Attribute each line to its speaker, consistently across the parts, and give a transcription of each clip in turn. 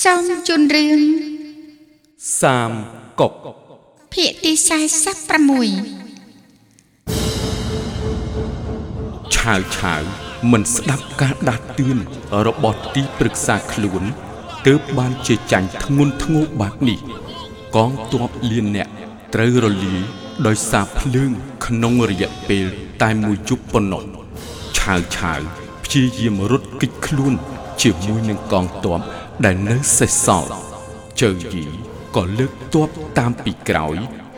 Speaker 1: សូមជូនរឿង
Speaker 2: សាមកុក
Speaker 1: ភាគទី46
Speaker 2: ឆាវឆាវមិនស្ដាប់ការដាស់តឿនរបស់ទីប្រឹក្សាខ្លួនទើបបានជាចាញ់ធ្ងន់ធ្ងរបែបនេះ កងទ័ពលៀនអ្នកត្រូវរលាយដោយសារភ្លើងក្នុងរយៈពេលតែមួយជប់ប៉ុណ្ណោះឆាវឆាវព្យាយាមរត់គេចខ្លួន ជាមួយនឹងកងទ័ពដែលនៅសេសសល់ជើងយីក៏លើកទ័ពតាមពីក្រោយ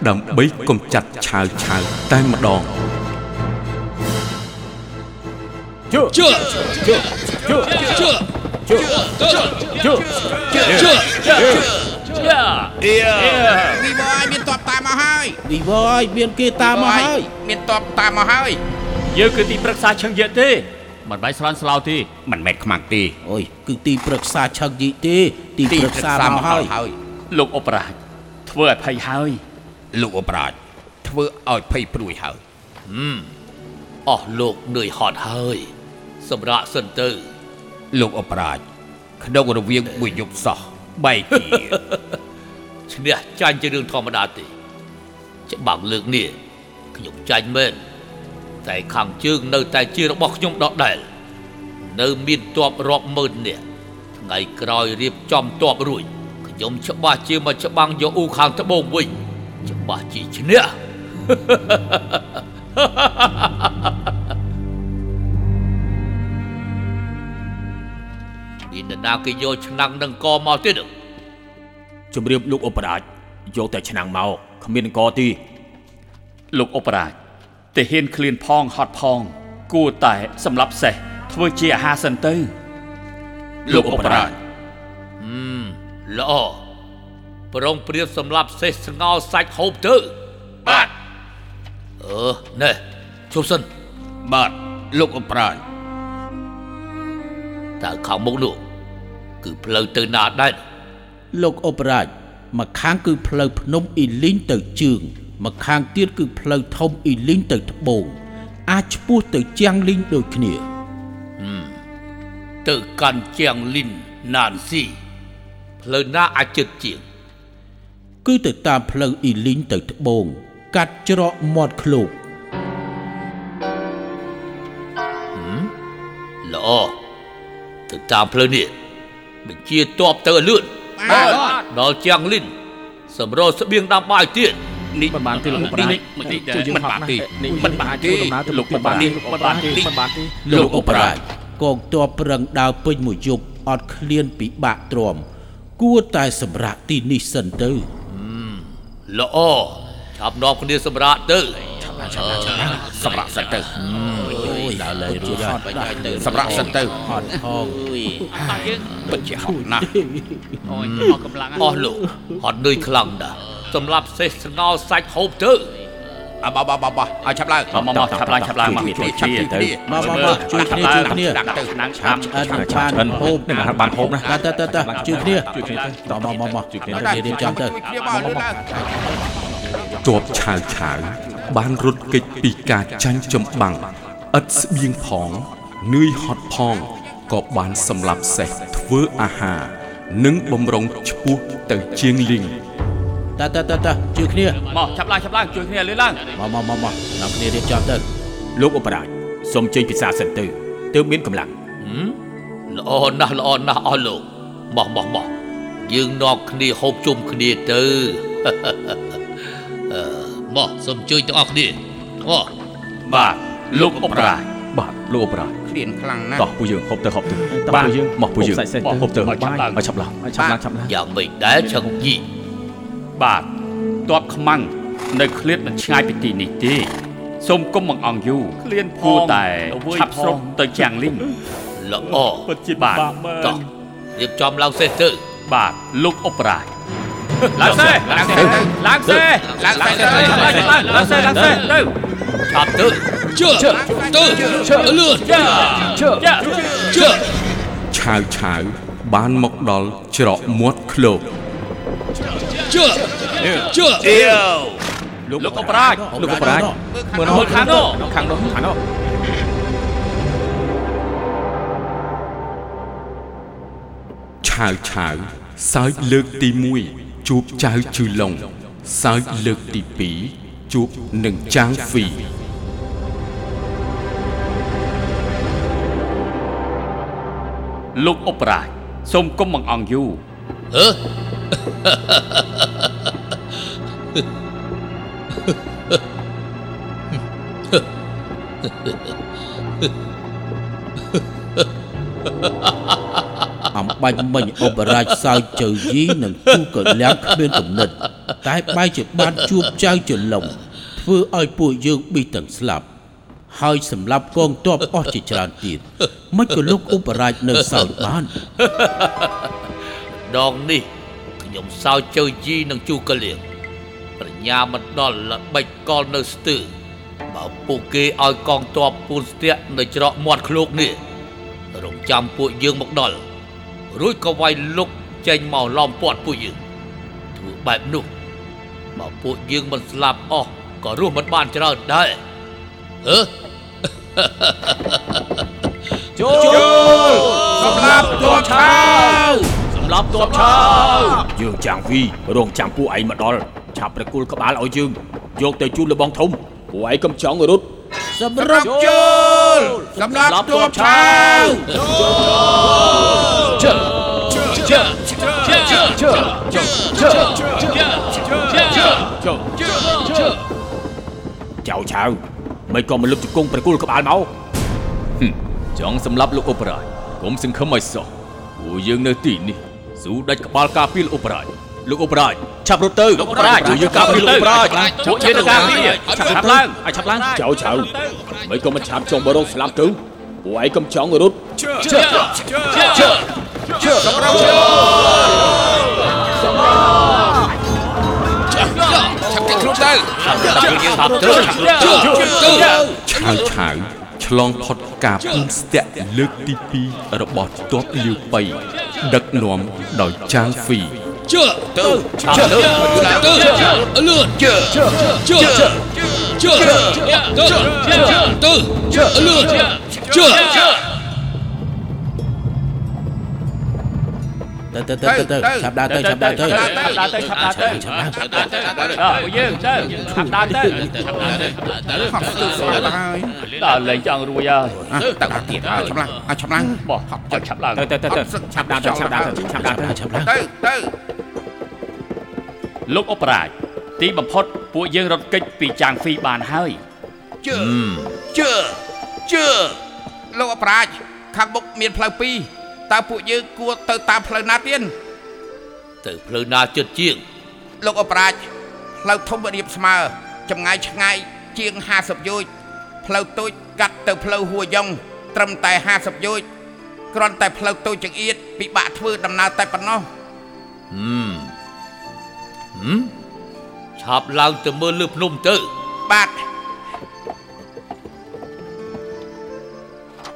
Speaker 2: ដើម្បីកំចាត់ឆាវឆាវតែម្ដង
Speaker 3: វីវ៉យមានតបតាមមកហើយ
Speaker 4: នេះវយមានគេតាមមកហើយ
Speaker 3: មានតបតាមមកហើយ
Speaker 5: យើងគឺទីប្រឹក្សាឆឹងយេទេមិនបាច់ស្លន់ស្លោទេ
Speaker 3: មិនមែនខ្មាំងទេ
Speaker 4: អូយគឺទីប្រឹក្សាឆឹកយីទេទីប្រឹក្សាមកហើយ
Speaker 3: ហើយ
Speaker 5: លោកអបរាជធ្វើឲ្យភ័យហើយ
Speaker 3: លោកអបរាជធ្វើឲ្យភ័យព្រួយហើយ
Speaker 6: អស់លោកនឿយហត់ហើយសម្រាប់សិនទៅ
Speaker 3: លោកអបរាជក្នុងរវាងមួយយប់សោះបែកជា
Speaker 6: ឈ្នះចាញ់ជារឿងធម្មតាទេច្បាំងលើកនេះខ្ញុំចាញ់មែនតែខាងជើងនៅតែជារបស់ខ្ញុំដដែលនៅមានទ័ពរាប់ម៉ឺននាក់ថ្ងៃក្រោយរៀបចំទ័ពរួចខ្ញុំច្បាស់ជាមួយច្បាំងយូអ៊ូខាងត្បូងវិញច្បាស់ជាឈ្នះ ពីនរណាគេយកឆ្នាំងនឹងកមកទៀតនោះ
Speaker 7: ជំរាបលោកអបរាជយកតែឆ្នាំងមកគ្មានកទេ
Speaker 5: លោកអបរាជតែហ៊ានឃ្លានផងហត់ផង គួរតែសម្រាប់សេះធ្វើជាអាហារសិនទៅ
Speaker 6: លោកអបរាជអឺមល្អប្រងព្រៀបសម្រាប់សេះស្ងោសាច់ហូបទៅបាទអឺណែជប់សិន
Speaker 3: បាទលោកអបរាជ
Speaker 6: តើខាងមុខនោះគឺផ្លូវទៅណាដែរ
Speaker 4: លោកអបរាជមកខាងគឺផ្លូវភ្នំអ៊ីលីងទៅជើងមកខាងទៀតគឺផ្លូវធំអ៊ីលីងទៅត្បូងអាចឈ្មោះទៅជាងលីងដូចគ្នា
Speaker 6: ទៅកាន់ជាងលីនណានស៊ីផ្លូវណាអាចជិតជាង
Speaker 4: គឺទៅតាមផ្លូវអ៊ីលីងទៅត្បូង កាត់ច្រកមាត់ឃ្លោក
Speaker 6: ល្អទៅតាមផ្លូវនេះបញ្ជាតបទៅឲ្យលឿនបាទដល់ជាងលីនសម្រោស្បៀងដាំបាយទៀត
Speaker 7: នេះមិនបានទេលោកអបរាជ
Speaker 5: មិនបានទេ
Speaker 7: មិនបានទេមិនបានទេដំណើរទៅលោកមិនបានទេមិនបានទេមិនបានទេ
Speaker 4: លោកអបរាជកងទ័ពប្រឹងដើរពេញមួយយប់អត់ឃ្លានពិបាកទ្រាំគួរតែសម្រាប់ទីនេះសិនទៅ
Speaker 6: ល្អចាប់នាំគ្នាសម្រាប់ទៅ
Speaker 3: សម្រាប់សិនទៅ
Speaker 4: អូយដល់លើរួចហើយ
Speaker 3: សម្រាប់សិនទៅ
Speaker 4: ហត់ផង
Speaker 3: ពិតជាហត់ណាស់
Speaker 6: អស់លោកហត់នឿយខ្លាំងណាស់សម្រាប់សេះស្ងោសាច់ហូបទៅ
Speaker 3: អបបបបឲ្យឆាប់ឡើង
Speaker 5: មកមកឆាប់ឡើងឆាប់ឡើងមក
Speaker 3: ជួយឆាប់ទីទៅ
Speaker 4: មកមកមកជួយគ្នាជួយគ្នា
Speaker 3: ដាក់ទៅឆ្នាំ
Speaker 4: ឆាប់ឆ្អិនបានហូប
Speaker 7: នឹងបានហូបណា
Speaker 4: តាតាតាតាជួយគ្នាជួយគ្នាតមកមកមកជួយគ្នារៀបចំទៅ
Speaker 3: ជួយគ្នាមកលឿនឡើង
Speaker 2: ទ័ពឆាវឆាវបានរត់គេចពីការចាញ់ចំបាំងឥតស្បៀងផងនឿយហត់ផងក៏បានសម្លាប់សេះធ្វើអាហារនិងបំរុងឈ្មោះទៅជាងលីង
Speaker 4: តាតាតាតាជួយគ្នា
Speaker 5: មកឆាប់ឡើងឆាប់ឡើងជួយគ្នាលឿនឡើង
Speaker 4: មកមកមកមកដល់គ្នារៀបចំទៅ
Speaker 7: លោកអបរាជសូមចេញពិសាសិនទៅទើបមានកម្លាំង
Speaker 6: ល្អណាស់ល្អណាស់អស់លោកបោះបោះបោះយើងនាំគ្នាហូបជុំគ្នា ទៅអឺមកសូមជួយទាំងអស់គ្នាមក
Speaker 5: បាទលោកអបរាជ
Speaker 2: បាទលោកអបរាជ
Speaker 3: ឃ្លានខ្លាំងណាស់
Speaker 2: តោះពួកយើងហូបទៅហូបទៅតោះពួកយើងមកពួកយើងហូបទៅហូបបាយឲ្យឆាប់ឡើង
Speaker 7: ឆាប់ឡើងឆាប់ឡើង
Speaker 6: យ៉ាងមិនដែរឆឹងយី
Speaker 5: បាទតបខ្មាំងនៅឃ្លាតមិនឆ្ងាយពីទីនេះទេសូមគុំបង្អង់យូរឃ្លានគួរតែឆាប់ស្រុកទៅជាងលីង
Speaker 6: ល្អ
Speaker 5: ពិតជាបាទ
Speaker 6: តោះរៀបចំឡើងសេះទៅ
Speaker 5: បាទលោកអបរាជឡើងសេះឡើងសេះឡើងសេះ
Speaker 3: ឡើងសេះទៅ
Speaker 5: ឡើងឡើងឡើងឡើងសេះឡើងសេះទៅ
Speaker 6: ឆាប់ទៅជើទៅជើលឿនចា
Speaker 5: ចា
Speaker 6: ជើ
Speaker 2: ឆាវឆាវបានមកដល់ច្រកមាត់ឃ្លោក
Speaker 6: ជើជើ
Speaker 5: លោកអបរាជ
Speaker 7: លោកអបរាជ
Speaker 5: មើលខាងនោះ
Speaker 7: ខាងនោះខាងនោះ
Speaker 2: ឆ វឆាវសើចលើកទី1ជួបចៅជឺឡុងសើចលើកទី2ជួបនឹងចាងហ្វី
Speaker 5: លោកអបរាជសូមកុំបង្អង់យូរ
Speaker 6: អឺ
Speaker 4: អំបាច់មិញអបរាជសើចជើយីនឹងទូកលាំងគ្មានគំនិត តែបែរជាបានជួបចៅចន្លងធ្វើឲ្យពួកយើងប៊ីទាំងស្លាប់ ហើយសម្រាប់កងទ័ពអស់ជាច្រើនទៀតមិនក៏លោកអបរាជនៅសើចបាន
Speaker 6: ដងនេះខ្ញុំសោចជើជីនឹងជូកលៀងប្រញ្ញាមិនដល់ល្បិចកលនៅស្ទើរបើពួកគេឲ្យកងទ័ពពូនស្ទាក់នៅច្រកមាត់ឃ្លោកនេះរងចាំពួកយើងមកដល់រួចក៏វាយលុកចេញមកឡោមព័ទ្ធពួកយើងធ្វើបែបនោះបើពួកយើងមិនស្លាប់អស់ក៏រស់មិនបានច្រើនដែរអឺ
Speaker 3: សម្រាប់ទ័ពឆោ
Speaker 7: យើងចាងវីរងចាំពួកឯងមកដល់ឆាប់ប្រគល់ក្បាលឲ្យយើងយកទៅជូនលបងធំពួកឯងកំចង់រត់
Speaker 4: សម្រាប់
Speaker 3: ជើលសម្រាប់ទ័ពឆោ
Speaker 7: ចៅឆាវមិនក៏មិនលុបជង្គង់ប្រគល់ក្បាលមក
Speaker 3: ចង់សម្រាប់លោកអបរាជកុំសង្ឃឹមឲ្យសោះពួកយើងនៅទីនេះស៊ូដាច់ក្បាលការពារលោកអបរាជលោកអបរាជ
Speaker 7: ឆាប់រត់ទៅ
Speaker 3: លោកអបរាជយើងការពារលោកអបរាជពួកយើងនៅការពារឆាប់ឡើងឲ្យឆាប់ឡើង
Speaker 7: ចៅឆាវមិនក៏មិនឆាប់ចុងបរងស្លាប់ទៅពួកឯងកំចង់រត់
Speaker 2: ឆាវឆាវឆ្លងផុតការពូនស្ទាក់លើកទី2របស់ទ័ពលាវប៉ៃដឹកនាំដោយចាងហ្វី
Speaker 4: ទៅទៅទៅទៅទៅឆាប់ដើរទៅឆាប់ដើរទៅ
Speaker 5: អើពួកយើងទៅខាងដើរទៅដល់លេងចង់រួយហើយបោះចុចឆាប់ឡើង
Speaker 7: ទៅទៅទៅទៅឆាប់ដើរទៅឆាប់ដើរទៅឆាប់ដើរទៅ
Speaker 4: ឆាប់ឡើង
Speaker 5: លោកអបរាជទីបំផុតពួកយើងរត់គេចពីចាងហ្វីបានហើយ
Speaker 8: លោកអប្រាជខាងមុខមានផ្លូវពីរតើពួកយើងគួរទៅតាមផ្លូវណាទៀត
Speaker 6: ទៅផ្លូវណាជិតជាង
Speaker 8: លោកអប្រាជផ្លូវធំរៀបស្មើចម្ងាយឆ្ងាយជាង50យោជន៍ផ្លូវតូចកាត់ទៅផ្លូវហួយ៉ងត្រឹមតែ50យោជន៍គ្រាន់តែផ្លូវតូចចង្អៀតពិបាកធ្វើដំណើរតែប៉ុណ្ណោះ
Speaker 6: ឆាប់ឡើងទៅមើលលើភ្នំទៅ
Speaker 8: បាទ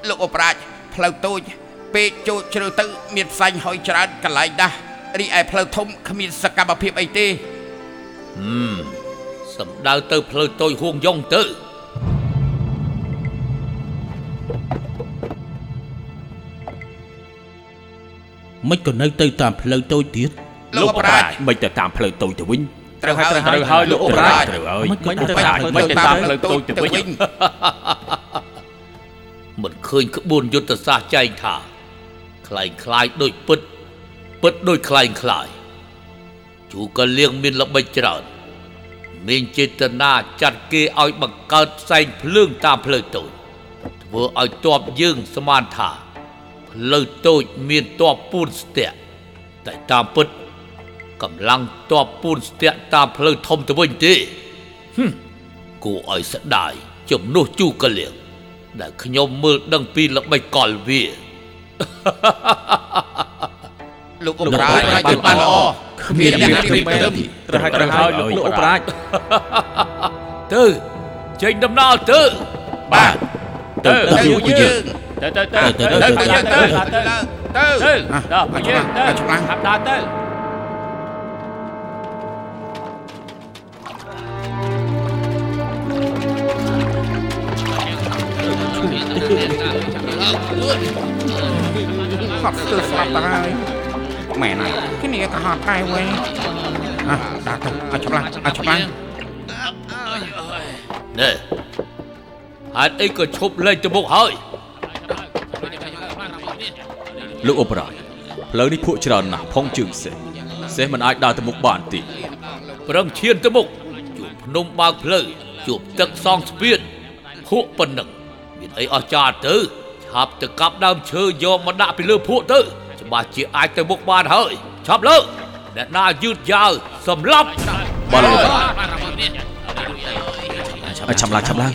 Speaker 8: លោកអប្រាជផ្លូវតូចពេកចូលជ្រៅទៅ មានផ្សែងហុយច្រើនកន្លែងដាស់រីឯផ្លូវធំគ្មានសកម្មភាពអីទេ
Speaker 6: សំដៅទៅផ្លូវតូចហួងយ៉ងទៅ
Speaker 4: មិនក៏នៅទៅតាមផ្លូវតូចទៀត
Speaker 8: លោកអប្រាជ
Speaker 7: មិនទៅតាមផ្លូវតូចទៅវិញ
Speaker 8: ត្រូវហើយត្រូវ
Speaker 5: ត្រូវ
Speaker 8: ហើយ
Speaker 5: ហើយលោកអបរាជ
Speaker 7: ត្រូវហើយ
Speaker 4: មិនក៏
Speaker 7: ទៅ
Speaker 4: ទៅ
Speaker 7: តាមផ្លូវ
Speaker 5: មិនទៅតាមផ្លូវតូចទៅវិញ
Speaker 6: មិនឃើញក្បួនយុទ្ធសាស្ត្រចែងថាคล้ายคล้ายដូចពិត ពិតដូចคล้ายคล้ายជូកលៀងមានល្បិចច្រើនមានចេតនាចាត់គេឲ្យបង្កើតផ្សែងភ្លើងតាមផ្លូវតូចធ្វើឲ្យតបយើងស្មានថា ផ្លូវតូចមានតបពូនស្ទាក់តែតាមពិតកម្លាំងតបពូនស្ទាក់តាមផ្លូវធំទៅវិញទេហឹមគួរឲ្យស្ដាយជំនួសជូកលៀង ដែលខ្ញុំមើលដឹងពីល្បិចកលវា
Speaker 8: លោកអបរាជបាយបានល្អគ្មានអ្នកព្រៀបព្រឹម
Speaker 7: ត្រូវហើយត្រូវហើយលោកអបរាជ
Speaker 6: ទៅចេញដំណើរទៅ
Speaker 5: បាទទៅ
Speaker 8: ទៅពួកយើង
Speaker 5: ទៅទៅទៅទៅទៅទៅទៅទ
Speaker 8: ទៅ
Speaker 5: ៅដល់ពួកយើងទៅឆាប់ដើរទៅ
Speaker 8: ហត់ស្ទើរស្លាប់ទៅហើយ មែនហើយគ្នាក៏ហត់ដែរវិញអ่ะដាក់ទៅឲ្យច្បាស់ឲ្យច្បាស់
Speaker 6: ណែហេតុអីក៏ឈប់លេងទៅមុខហើយ
Speaker 3: លោកអបរាជផ្លូវនេះភក់ច្រើនណាស់ផងជើងសេះសេះមិនអាចដើរទៅមុខបានទេ
Speaker 6: ប្រឹងឈានទៅមុខជួបភ្នំបើកផ្លូវជួបទឹកសងស្ពានភក់ប៉ុណ្ណឹងមានអីអស្ចារ្យទៅឆាប់ទៅកាប់ដើមឈើយកមកដាក់ពីលើភក់ទៅច្បាស់ជាអាចទៅមុខបានហើយឆាប់លើកអ្នកណាយឺតយ៉ាវសម្លាប់
Speaker 3: បាល់លោកអបរាជអាចាំឡើងចាំឡើង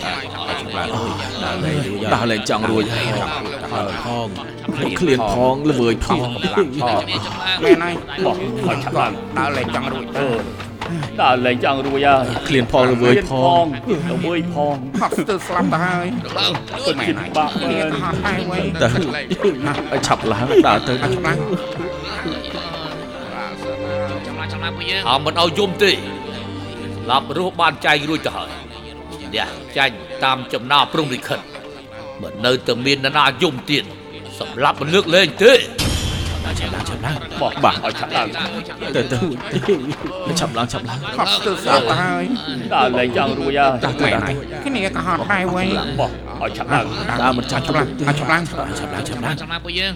Speaker 3: ដើរឡើងចង់រួច
Speaker 4: ហើយផង
Speaker 3: ឃ្លានផងល្វើយផង
Speaker 8: មែនហើយបោះហើយឆាប់ឡើងដើរលេងចង់រួចទៅ
Speaker 5: ដើរលេងចង់រួចហើយ
Speaker 3: ឃ្លានផងល្វើយ
Speaker 5: រៀន
Speaker 3: ផ
Speaker 5: ផង ងល្វើយផង
Speaker 8: ហត់ស្ទើរស្លាប់ទៅហើយ
Speaker 5: ពិត
Speaker 8: មែ
Speaker 5: ជា
Speaker 8: ន
Speaker 5: ពិ
Speaker 8: ហើយ
Speaker 5: បាក់មើល
Speaker 8: គ្នាក៏ហត់ដែរវិញ
Speaker 3: ទៅឲ្យឆាប់ឡើងដើរទៅ
Speaker 8: អត់ច្បាស់
Speaker 6: អើមិនឲ្យយំទេស្លាប់រស់បានចែងរួចទៅហើយអ្នកចាញ់តាមចំណាប្រំរិខិតមិននៅតែមានអ្នកណាយំទៀតសម្លាប់មិនលើកលែងទេ
Speaker 5: បោះបាក់ឲ្យឆាប់ឡើង
Speaker 3: ទៅទៅឲ្យឆាប់ឡើងឆាប់ឡើង
Speaker 8: ហត់ស្ទើរស្លាប់ទៅហើយ
Speaker 5: ដើរលេងចង់រួចហើយ
Speaker 3: ដើរទៅ
Speaker 8: មែន
Speaker 3: ដើរ
Speaker 8: ហើ
Speaker 3: ទៅ
Speaker 8: យគ្នាក៏ហត់ដែរវិញ
Speaker 5: បោះឲ្យឆាប់ឡើង
Speaker 3: ដើរមិនចាំ
Speaker 8: ច្បាស់អត់ច្បាស់
Speaker 3: ឆាប់ឡើងឆាប់ឡើង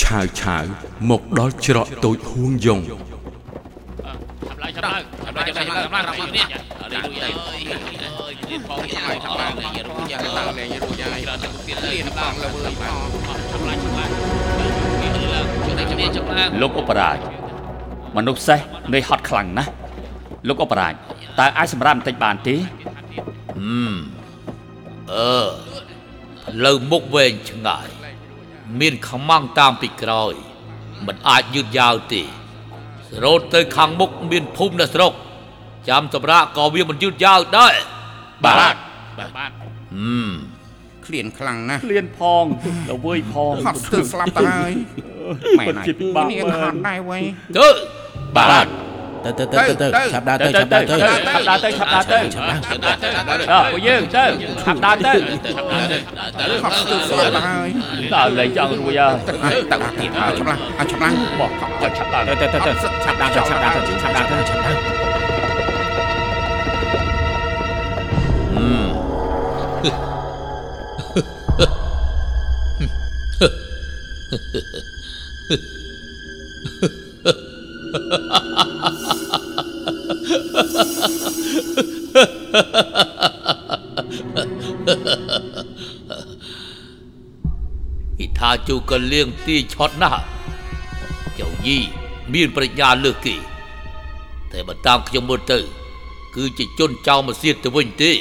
Speaker 2: ឆាវឆាវមកដល់ច្រកតូចហួងយង
Speaker 5: លោកអបរាជមនុស្សសេះនៃហត់ខ្លាំងណាស់លោកអបរាជតើអាចសម្រាប់បន្តិចបានទេ
Speaker 6: អឺផ្លូវមុខវែងឆ្ងាយ មានខ្មាំងតាមពីក្រោយ មិនអាចយឺតយ៉ាវទេស្រោតទៅខាងមុខមានភូមិនៅស្រុក ចាំសម្រាប់ក៏វាមិនយឺតយ៉ាវដែរបាទហឹម
Speaker 8: គ្លៀនខ្លាំងណាស់
Speaker 5: ឃ្លានផងល្វើយផង
Speaker 8: ហត់ស្ទើរស្លាប់ទៅហើយមែ
Speaker 5: ពិ
Speaker 8: ន
Speaker 5: ត
Speaker 8: ហើយ
Speaker 5: ជាពិបាក
Speaker 8: គ្នា
Speaker 5: មើ
Speaker 8: ក៏ហ
Speaker 5: ល
Speaker 8: ត់ដែរវិញ
Speaker 6: ទៅ
Speaker 5: បាទ
Speaker 4: ទៅទៅទៅទៅ
Speaker 8: ទៅ
Speaker 4: ឆាប់ដើរ
Speaker 5: ទៅ
Speaker 4: ទៅ
Speaker 5: ទៅ
Speaker 4: ឆាប់
Speaker 5: ទៅ
Speaker 4: ដើរទៅ
Speaker 5: ទៅឆាប់ដើរទៅឆាប់ដើរទៅអើពួកយើងទៅឆាប់ដើរទៅ
Speaker 8: ហត់ស្ទើរស្លាប់ទៅហើយ
Speaker 5: ដើរលេងចង់រួចហើយ
Speaker 8: អ่ะទៅទៀតឲ្យច្បាស់ឲ្យច្បាស់
Speaker 5: បោះឲ្យឆាប់ឡើង
Speaker 7: ទៅទៅទៅឆាប់ឡើងទៅឆាប់ឡើងទៅឆាប់ឡើងទៅឆាប់ឡើង
Speaker 6: អ៊ីថាជូក៏លៀងទីឆត់ណាស់ចៅយីមានប្រាជ្ញាលើសគេតែបើតាមខ្ញុំមើលទៅ គឺជាជនចោរមកសៀតទៅវិញទេ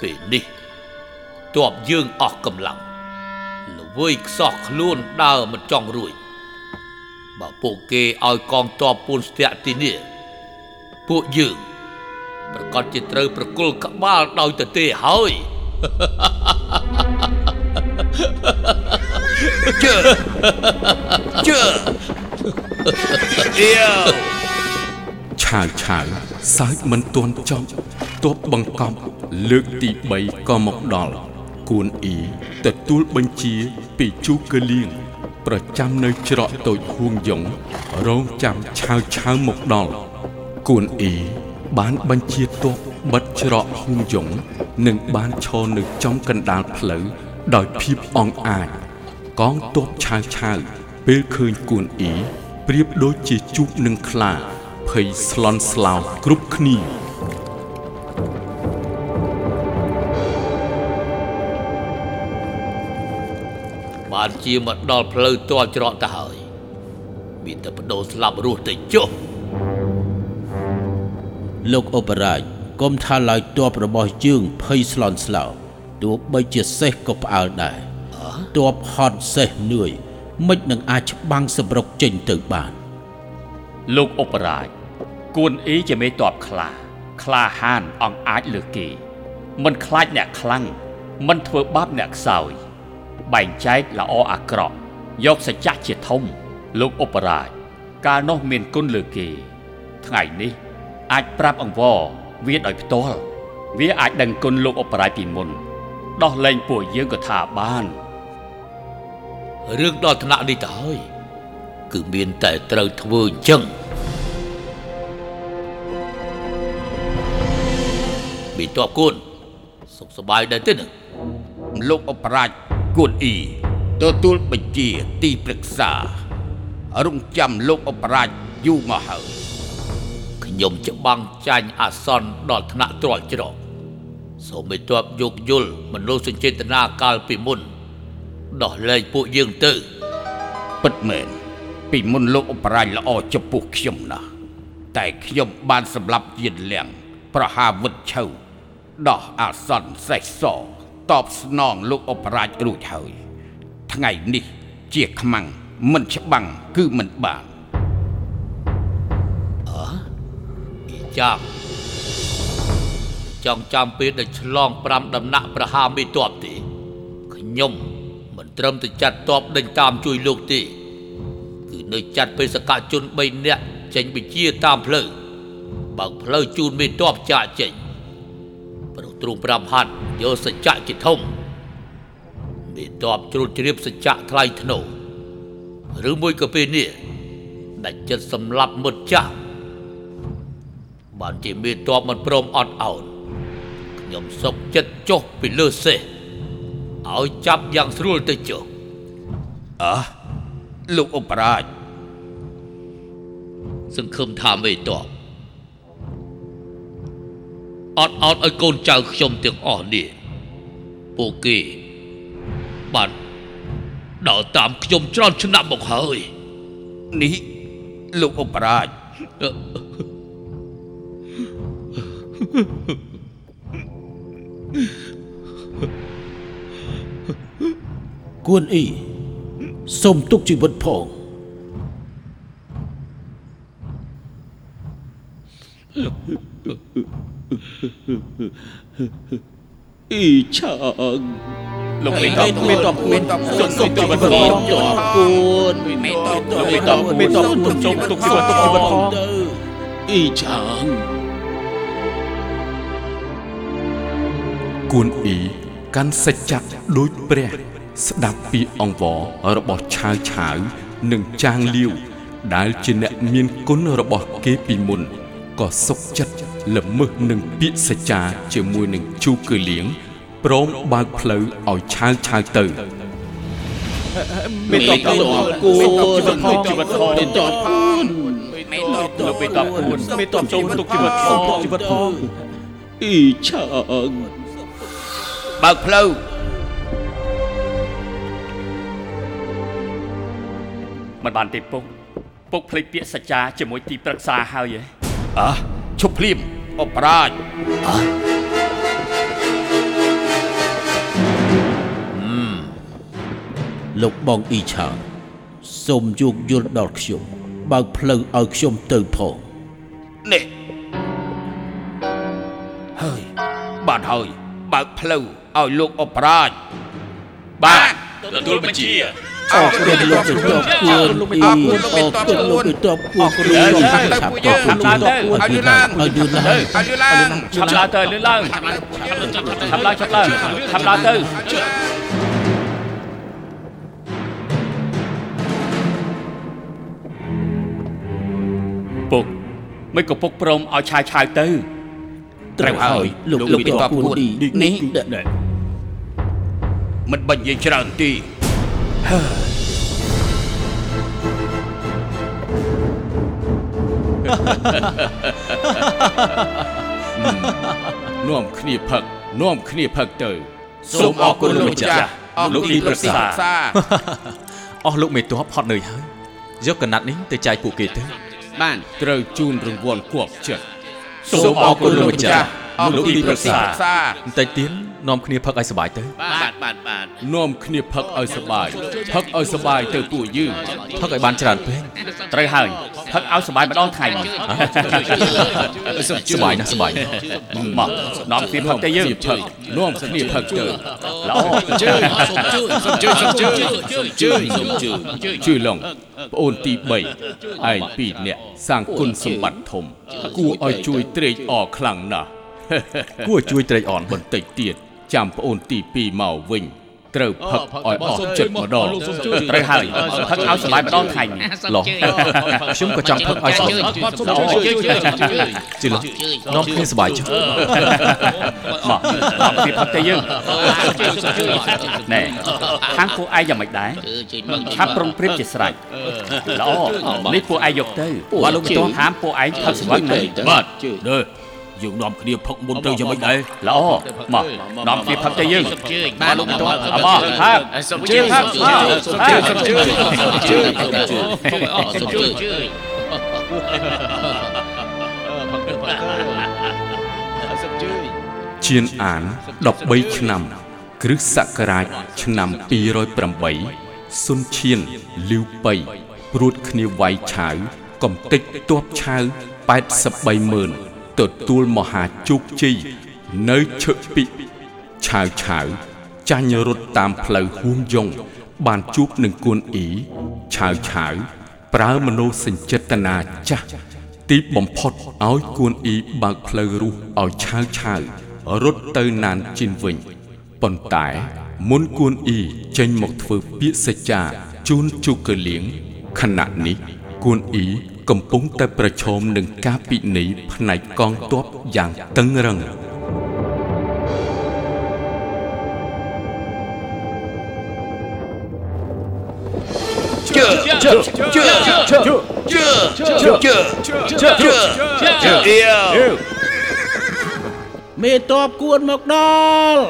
Speaker 6: ពេលនេះតបយើងអស់កម្លាំងល្វើយខ្សោះខ្លួនដើរមិនចង់រួចបើពួកគេឲ្យកងតបពូនស្ទាក់ទីនេះពួកយើងប្រកាសជាត្រូវប្រគល់ក្បាលដោយទទេហើយ
Speaker 2: ឆាវឆាវសើចមិនទាន់ចប់ទបបង្កប់លើកទី3ក៏មកដល់គួនអ៊ីទទួលបញ្ជាពីជូកលៀងប្រចាំនៅច្រកតូចហួងយងរងចាំឆាវឆាវមកដល់គួនអ៊ីបានបញ្ជាទបបិទច្រកហួងយងនិងបានឈរនៅចំកណ្ដាលផ្លូវដោយភាពអង់អាចកងទបឆាវឆាវពេលឃើញគួនអ៊ីប្រៀបដូចជាជូកនឹងខ្លា ភ័យស្លន់ស្លោគ្រប់គ្នា
Speaker 6: បានជាមកដល់ផ្លូវទាល់ច្រកទៅហើយមានតែបដូរស្លាប់រស់ទៅចុះ
Speaker 4: លោកអបរាជកុំថាឡើយតបរបស់យើងភ័យស្លន់ស្លោទោះបីជាសេះក៏ផ្អើលដែរតបហត់សេះនឿយមិននឹងអាចច្បាំងសម្រុកចេញទៅបាន
Speaker 5: លោកអបរាជគួនអ៊ីជាមេតបខ្លា ខ្លាហានអង្អាចលើសគេ មិនខ្លាចអ្នកខ្លាំងមិនធ្វើបាបអ្នកខ្សោយ បែងចែកល្អអាក្រក់យកសច្ចៈជាធំ លោកអបរាជកាលនោះមានគុណលើគេ ថ្ងៃនេះ អាចប្រាប់អង្វរ
Speaker 9: វាដោយផ្ទាល់វាអាចដឹងគុណលោកអបរាជពីមុន ដោះលែងពួកយើងក៏ថាបាន
Speaker 6: រឿងដល់ថ្នាក់នេះទៅហើយគឺមានតែត្រូវធ្វើអញ្ចឹងមានតបគុណសុខសប្បាយដែរទេណា
Speaker 5: លោកអបរាជគួនអ៊ីទទួលបញ្ជាទីប្រឹក្សា រងចាំលោកអបរាជយូរមកហើយ
Speaker 6: ខ្ញុំច្បាំងចាញ់អាសន្នដល់ថ្នាក់ទ្រាល់ជ្រកសូមឲ្យទ័ពយោគយល់មនោសញ្ចេតនាកាលពីមុនដោះលែងពួកយើងទៅ
Speaker 5: ពិតមែនពីមុនលោកអបរាជល្អចំពោះខ្ញុំណាស់តែខ្ញុំបានសម្លាប់យានលៀងប្រហារវុធឆៅដោះអាសន្នសេះសតបស្នងលោកអបរាជរួចហើយ ថ្ងៃនេះជាខ្មាំងមិនច្បាំងគឺមិនបាន
Speaker 6: អ៊ីចាំចង់ចាំពេលដែលឆ្លង5ដំណាក់ប្រហារមេតបទេខ្ញុំមិនត្រឹមតែចាត់តបដេញតាមជួយលោកទេគឺនៅចាត់បេសកជន3នាក់ចេញបញ្ជាតាមផ្លូវបើកផ្លូវជូនមេតបចាក់ចេញប្រទ្រូង5ហັດយកសច្ចៈជាធំមេតបជ្រួតជ្រាបសច្ចៈថ្លៃធ្នូឬមួយក៏ពេលនេះដាច់ចិត្តសម្លាប់មុតចាស់ បានជាមេតបមិនព្រមអត់ឱនខ្ញុំសុកចិត្តចុះពីលើសេះឲ្យចាប់យ៉ាងស្រួលទៅចុះ
Speaker 5: លោកអបរាជ
Speaker 6: សង្ឃឹមថាមេតបអត់ឱនឲ្យកូនចៅខ្ញុំទាំងអស់នេះពួកគេបានដើរតាមខ្ញុំច្រើនឆ្នាំមកហើយ
Speaker 5: នេះលោកអបរាជ
Speaker 4: គួនអ៊ីសូមទុកជីវិតផង
Speaker 9: អ៊ីឆាង
Speaker 8: លោកមេតបមេតប
Speaker 5: មេតប
Speaker 8: ជន់សុំជីវិតផង
Speaker 4: គួន
Speaker 5: មេតប
Speaker 8: លោកមេតបមេតប
Speaker 4: សូម
Speaker 8: ទុកជុំទុកជីវិតទុកជីវិតផង
Speaker 4: ទៅ
Speaker 8: អ៊ីឆាង
Speaker 2: គួនអ៊ីកាន់សច្ចៈដូចព្រះ ស្ដាប់ពីអង្វររបស់ឆាវឆាវនិងចាងលាវ ដែលជាអ្នកមានគុណរបស់គេពីមុនក៏សុខចិត្តល្មើសនឹងពាក្យសច្ចាជាមួយនឹងជូគឺលៀងព្រមបើកផ្លូវឲ្យឆាវឆាវទៅ
Speaker 8: មេតបគួន
Speaker 4: គួន
Speaker 8: ទុកជីវិតផង
Speaker 4: មេតបគួន
Speaker 5: មេតប
Speaker 8: លោកមេតបគួនមេតបជន់ទុកជីវិតផ
Speaker 4: សូ
Speaker 8: ង
Speaker 4: មទុកជី
Speaker 8: ទុកជីវិ
Speaker 4: វិ
Speaker 8: ត
Speaker 4: ត
Speaker 8: ផ
Speaker 4: ផង ង
Speaker 8: អ៊ីឆាង
Speaker 5: បើកផ្លូវ
Speaker 9: មិនបានទេពុកពុកភ្លេចពាក្យសច្ចាជាមួយទីប្រឹក្សាហើយឯង
Speaker 5: អ្ហាឈប់ភ្លាមអបរាជ
Speaker 4: លោកបងអ៊ីឆាងសូមយោគយល់ដល់ខ្ញុំបើកផ្លូវឲ្យខ្ញុំទៅផង
Speaker 5: នេះហើយបានហើយបើកផ្លូវឲ្យលោកអបរាជបាទ
Speaker 8: ទទួលបញ្ជា
Speaker 4: អរគុណលោកជំទាវគួនអរគុណលោកជំទាវគួនអរគុណលោកជំទាវគួន
Speaker 5: ឲ្យយឺឡើង
Speaker 4: ឲ្យយឺឡើង
Speaker 5: ឲ្យយឺឡើង
Speaker 9: ឆាប់ឡើងទៅលឿនឡើងឆាប់ឡើងឆាប់ឡើងឆាប់ឡើងទៅពុកមិនក៏ពុកព្រមឲ្យឆាយឆាវទៅ
Speaker 4: ត្រូវហើយលោកលោកជំទាវគួននេះ
Speaker 5: មិនបាញ់និយាយច្រើនទី
Speaker 2: នាំគ្នាផឹកនាំគ្នាផឹកទៅ
Speaker 8: សូមអរគុណលោកម្ចាស់
Speaker 5: អរគុ
Speaker 8: លោក
Speaker 5: ណ
Speaker 8: ទីប្រឹក្សា
Speaker 5: ទី
Speaker 8: អស់លោកមេតបហត់នឿយហើយយកកណាត់នេះទៅចែកពួកគេទៅ
Speaker 2: បានត្រូវជូនរង្វាន់គប់ចិត្ត
Speaker 8: សូមអរគុណលោកម្ចាស់ អរ
Speaker 2: លោក
Speaker 8: គុណ
Speaker 2: ទី
Speaker 8: ទី
Speaker 2: ប្រឹ
Speaker 8: ប្រឹ
Speaker 2: ក្សា
Speaker 8: ក្សា
Speaker 2: បន្តិចទៀតនាំគ្នាផឹកឲ្យសប្បាយទៅ
Speaker 5: បាទបាទបាទ
Speaker 2: នាំគ្នាផឹកឲ្យសប្បាយផឹកឲ្យសប្បាយទៅពួកយើងផឹកឲ្យបានច្រើនពេក
Speaker 5: ត្រូវហើយផឹកឲ្យសบายម្ដងថ្ងៃមក
Speaker 2: សប្បាយណាស់សប្បាយណាស់
Speaker 5: មកនាំពីផឹកទៅយើង
Speaker 2: គ្នាផឹកនាំគ្នាផឹកទៅ
Speaker 5: ល្អ
Speaker 2: ជឿឡងប្អូនទី3ឯងពីរនាក់សាងគុណសម្បត្តិធំគួរឲ្យជួយត្រេកអរខ្លាំងណាស់គួរជួយត្រេកអរបន្តិចទៀតចាំប្អូនទី2មកវិញត្រូវផឹកឲ្យអស់ចិត្តម្ដង
Speaker 5: ត្រូវហើយផឹកឲ្យសบายម្ដងថ្ងៃនេះ
Speaker 2: ឡោះខ្ញុំក៏ចង់ផឹកឲ្យសុខជិះឡោះនាំគ្នាសบายចុះ
Speaker 5: មកនាំពីផឹកទៅយើងណែខាងពួកឯងយ៉ាងម៉េចដែរឆាប់ប្រំព្រៀបជាស្រេចល្អនេះពួកឯងយកទៅបាទលោកបន្តហាមពួកឯងផឹកសบายណាស់
Speaker 6: បាទនេះយើងនាំគ្នាផឹកមុនទៅយ៉ាងម៉េចដែរ
Speaker 5: ល្អមកនាំពីផឹកទៅយើងបាទលោកបន្តអបផឹកសុំជឿផឹកសុំជឿសុំជឿជឿសុំជឿ
Speaker 10: ឈៀនអាន13ឆ្នាំ គ្រិស្តសករាជឆ្នាំ208សុនឈៀនលីវប៉ៃព្រួតគ្នាវាយឆៅកំទេចទ័ពឆៅ83ម៉ឺនទទួលមហាជោគជ័យនៅឈឹកពីឆៅឆៅចាញ់រត់តាមផ្លូវហួមយងបានជួបនឹងគួនអ៊ីឆៅឆៅប្រើមនោសញ្ចេតនាចាស់ ទីបំផុតឲ្យគួនអ៊ីបើកផ្លូវរស់ឲ្យឆាវឆាវរត់ទៅណានជីនវិញប៉ុន្តែមុនគួនអ៊ីចេញមកធ្វើពាក្យសច្ចាជូនជូកលៀងខណៈនេះគួនអ៊ីកំពុងតែប្រឈមនឹងការពិន័យផ្នែកកងទ័ពយ៉ាងតឹងរឹង
Speaker 4: មេតបគួនមកដល់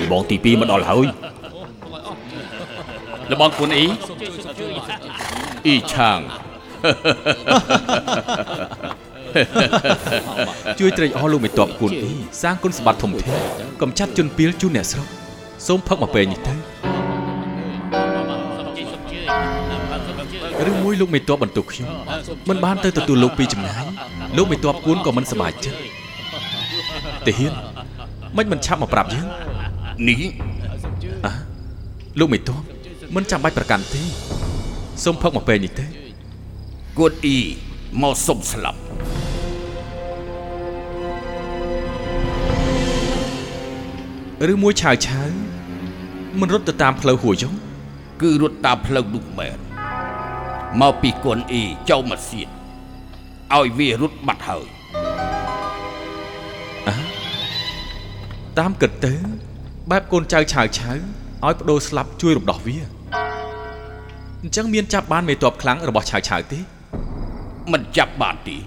Speaker 6: លបងទី2មកដល់ហើយ
Speaker 5: លបងគុណអ៊ី
Speaker 2: អ៊ីឆាង ជួយត្រេកអរលោកមេតបគុណអ៊ីសាងគុណសម្បត្តិធំធេងកំចាត់ជនពីលជូនអ្នកស្រុកសូមផឹកមកពេលនេះទៅឬមួយលោកមេតបបន្ទុកខ្ញុំមិនបានទៅទទួលលោកពីចំណាយលោកមេតបគុណក៏មិនសប្បាយចិត្តតាហ៊ានមិនមិនឆាប់មកប្រាប់យើង
Speaker 6: នេះ
Speaker 2: លោកមេតបមិនចាំបាច់ប្រកាន់ទេសូមផឹកមកពេលនេះទៅ
Speaker 6: គួតអ៊ីមកសុំស្លាប់
Speaker 2: ឬមួយឆាវឆាវមិនរត់ទៅតាមផ្លូវហួយយង
Speaker 11: គឺរត់តាមផ្លូវនោះមែនមកពីគុណអ៊ីចូលមកសៀតឲ្យវារត់បាត់ហើយ
Speaker 2: តាមគិតទៅបែបកូនចៅឆាវឆាវឲ្យបដូរស្លាប់ជួយរំដោះវាអញ្ចឹងមានចាប់បានមេតបខ្លាំងរបស់ឆាវឆាវទេ
Speaker 11: មិនចាប់បានទេ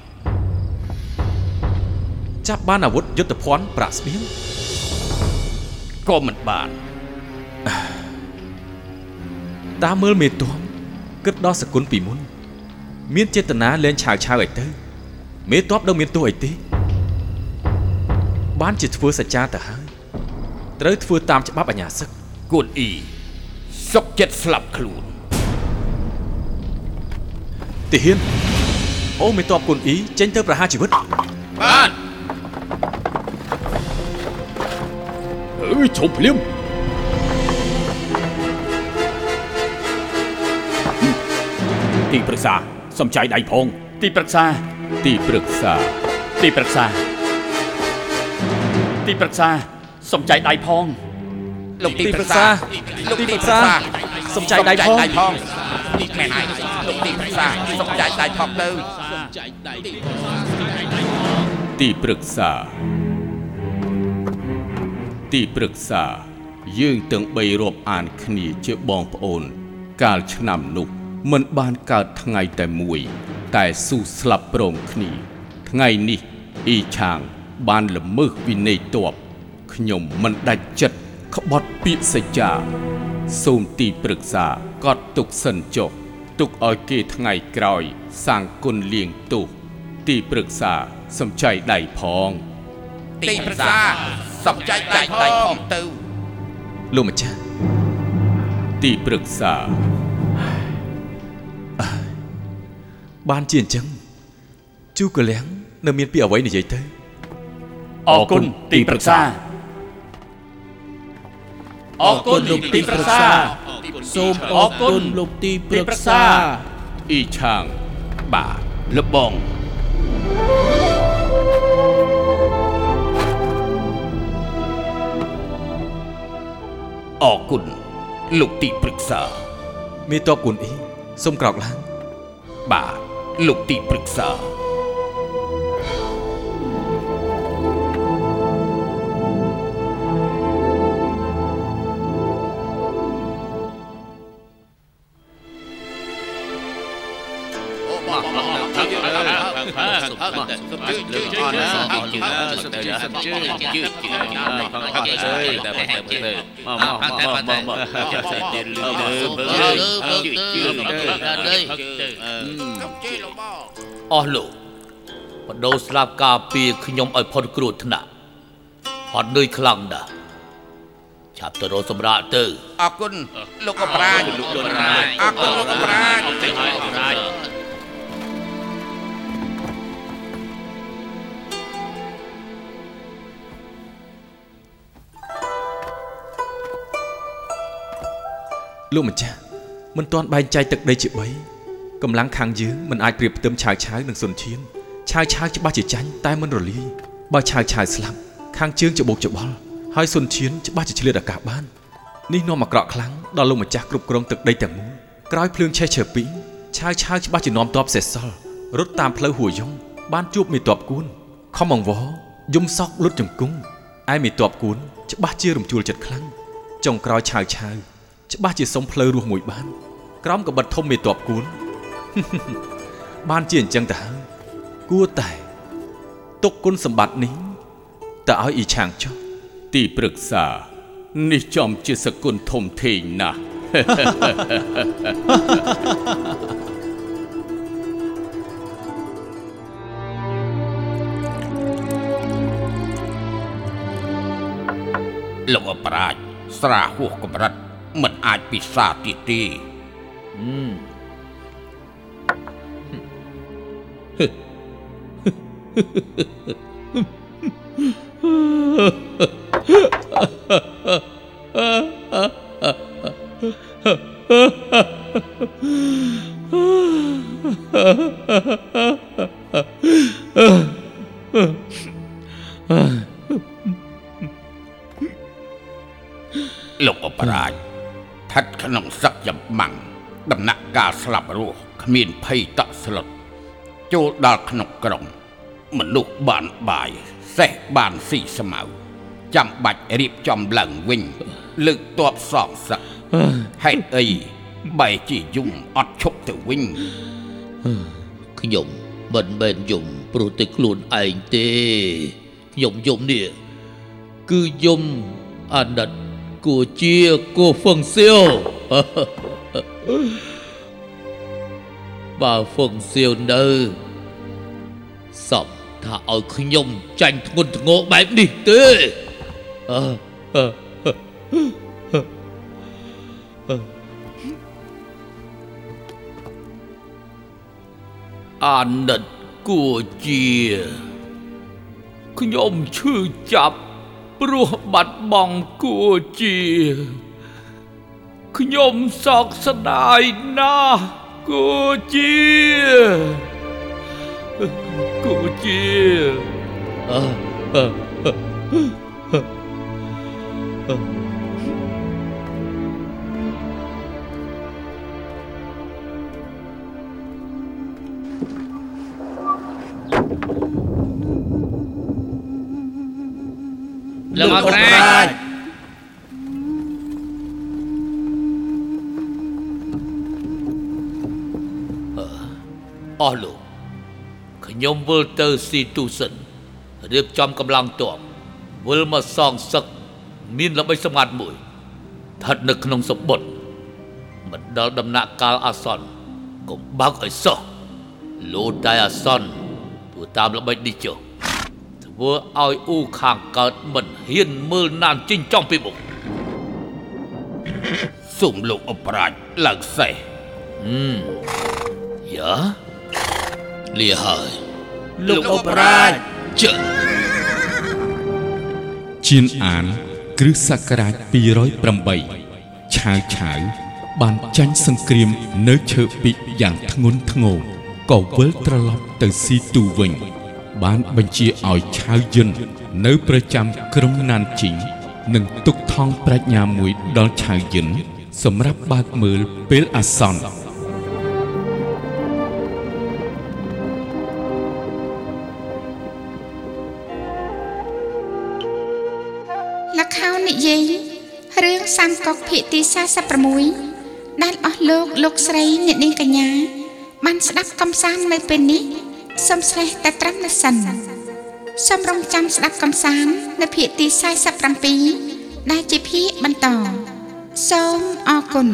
Speaker 2: ចាប់បានអាវុធយុទ្ធភ័ណ្ឌប្រាក់ស្បៀង
Speaker 11: ក៏មិនបាន
Speaker 2: តាមមើលមេតបគិតដល់សគុណពីមុន មានចេតនាលែងឆាវឆាវឲ្យទៅ មេតបដឹងមានទោះអីទេ បានជាធ្វើសច្ចាទៅហើយត្រូវធ្វើតាមច្បាប់អាញាសឹក
Speaker 11: គុណអ៊ីសុកចិត្តស្លាប់ខ្លួន
Speaker 2: ទាហានអូមេតបគុណអ៊ីចេញទៅប្រហារជីវិត
Speaker 5: បាទ
Speaker 6: អឺឈប់ភ្លាមទីប្រឹក្សាសំចៃដៃផង
Speaker 5: ទីប្រឹក្សា
Speaker 2: ទីប្រឹក្សា
Speaker 5: ទីប្រឹក្សា ទីប្រឹក្សាសំចៃដៃផង
Speaker 8: លោកទីប្រឹក្សាលោកទីប្រឹក្សា
Speaker 2: សំចៃដៃផង
Speaker 8: នេះមែនហើយលោកទីប្រឹក្សាសំចៃដៃផងទៅ
Speaker 2: ទីប្រឹក្សា ទីប្រឹក្សា យើងទាំងបីរាប់អានគ្នាជាបងប្អូន កាលឆ្នាំនោះមិនបានកើតថ្ងៃតែមួយ តែស៊ូស្លាប់ព្រមគ្នា ថ្ងៃនេះអ៊ីឆាងបានល្មើសវិន័យទ័ពខ្ញុំមិនដាច់ចិត្តក្បត់ពាក្យសច្ចា
Speaker 3: សូមទីប្រឹក្សាកត់ទុកសិនចុះទុកឲ្យគេថ្ងៃក្រោយសាងគុណលៀងទូកទីប្រឹក្សាសំចៃដៃផង
Speaker 8: ទីប្រសាសំចៃដៃផងទៅ
Speaker 2: លោកម្ចាស់
Speaker 3: ទីប្រឹក្សា
Speaker 2: បានជាអញ្ចឹងជូកលៀងនៅមានពាក្យអ្វីនិយាយទៅ
Speaker 5: អរគុណទីប្រឹក្សាអរគុណលោកទីប្រឹក្សា
Speaker 4: សូមអរគុណលោកទីប្រឹក្សា
Speaker 3: អ៊ីឆាងបាទលបង
Speaker 6: អរគុណលោកទីប្រឹក្សា
Speaker 2: មេតបគុណអ៊ីសូមក្រោកឡើង
Speaker 6: បាទលោកទីប្រឹក្សា អស់លោកបដូរស្លាប់ការពារខ្ញុំឲ្យផុតគ្រោះថ្នាក់ហត់នឿយខ្លាំងណាស់ឆាប់ទៅរកសម្រាកទៅ
Speaker 8: អរគុណលោកអបរាជអរគុណលោកអបរាជ
Speaker 2: លោកម្ចាស់មិនទាន់បែងចែកទឹកដីជា3កម្លាំងខាងយើងមិនអាចប្រៀបផ្ទឹមឆាវឆាវនឹងសុនឈានឆាវឆាវច្បាស់ជាចាញ់តែមិនរលាយបើឆាវឆាវស្លាប់ខាងជើងច្បុកច្បល់ហើយសុនឈានច្បាស់ជាឆ្លៀតឱកាសបាននេះនាំអាក្រក់ខ្លាំងដល់លោកម្ចាស់គ្រប់គ្រងទឹកដីទាំងមូលក្រោយភ្លើងឆេះឆើពីឆាវឆាវច្បាស់ជានាំតបសេះសល់រត់តាមផ្លូវហួយយងបានជួបមេតបគួនខំអង្វរយំសោកលុតជង្គង់ឯមេតបគួនច្បាស់ជារំជួលចិត្តខ្លាំងចុងក្រោយឆាវឆាវ ច្បាស់ជាសុំផ្លូវរស់មួយបាន ក្រោមកបិតធំមេតបគូន បានជាអញ្ចឹងទៅហើយគួរតែទុកគុណសម្បត្តិនេះទៅឲ្យអ៊ីឆាងចុះ
Speaker 3: ទីប្រឹក្សា នេះចំជាសគុណធំធេងណាស់
Speaker 6: លោកអប្រាជស្រាហួសកម្រិតមិនអាចពិសាទីទីលោកអប្រាជស្ថិតក្នុងសឹកចំបាំងដំណាក់កាលស្លាប់រស់គ្មានភ័យតក់ស្លុតចូលដល់ក្នុងក្រុង មនុស្សបានបាយសេះបានស៊ីស្មៅចាំបាច់រៀបចំឡើងវិញ លើកតបសងសឹកហេតុអីបែរជាយំអត់ឈប់ទៅវិញ
Speaker 12: ខ្ញុំមិនមែនយំព្រោះតែខ្លួនឯងទេខ្ញុំយំនេះគឺយំអាណិតគួរជាគួរហ្វឹងសៀវ បើហ្វឹងសៀវនៅសំថាឲ្យខ្ញុំចាញ់ធ្ងន់ធ្ងរបែបនេះទេអឺអឺអឺអឺ
Speaker 6: អាណិតគួរជា ខ្ញុំឈឺចាប់ព្រោះបាត់បង់គួរជា ខ្ញុំសោកស្ដាយណាស់គួរជា គួរជា
Speaker 5: លោកអប្រាជ
Speaker 6: អស់លោកខ្ញុំវិលទៅស៊ីទូសិនរៀបចំកម្លាំងទ័ពវិលមកសងសឹកមានល្បិចសម្ងាត់មួយ ថ ហិតនៅក្នុងសបុតមិនដល់ដំណាក់កាលអាសន្នកុំបើកឲ្យសោះលោតតែអាសន្នព្រោះតាមល្បិចនេះចុះធ្វើឲ្យអ៊ូខាងកើតមិនហ៊ានមើលណានចិញ្ចង់ពីមុខ
Speaker 12: សូមលោកអបរាជឡើងសេះ
Speaker 6: យ៉ា
Speaker 12: លាហើយ
Speaker 4: លោកអបរាជ
Speaker 12: ជិះ
Speaker 2: ជៀនអាន គ្រិស្តសករាជ208ឆាវឆាវបានចាញ់សង្គ្រាមនៅឈើពីកយ៉ាងធ្ងន់ធ្ងរក៏វិលត្រឡប់ទៅស៊ីទូវិញ បានបញ្ជាឲ្យឆាវយិន នៅប្រចាំក្រុងណានជីងនិងទុកថងប្រាជ្ញាមួយដល់ឆាវយិន សម្រាប់បើកមើលពេលអាសន្ន
Speaker 1: លកខោននិយាយរឿងសំកុកភាគទី46ដែលអស់លោកលោកស្រីអ្នកនាងកញ្ញាបានស្ដាប់កំសាន្តនៅពេលនេះសូមស្លេះតែត្រឹមនេះសិនសូមរងចាំស្ដាប់កំសាន្តនៅភាគទី47ដែលជាភាគបន្តសូមអរគុណ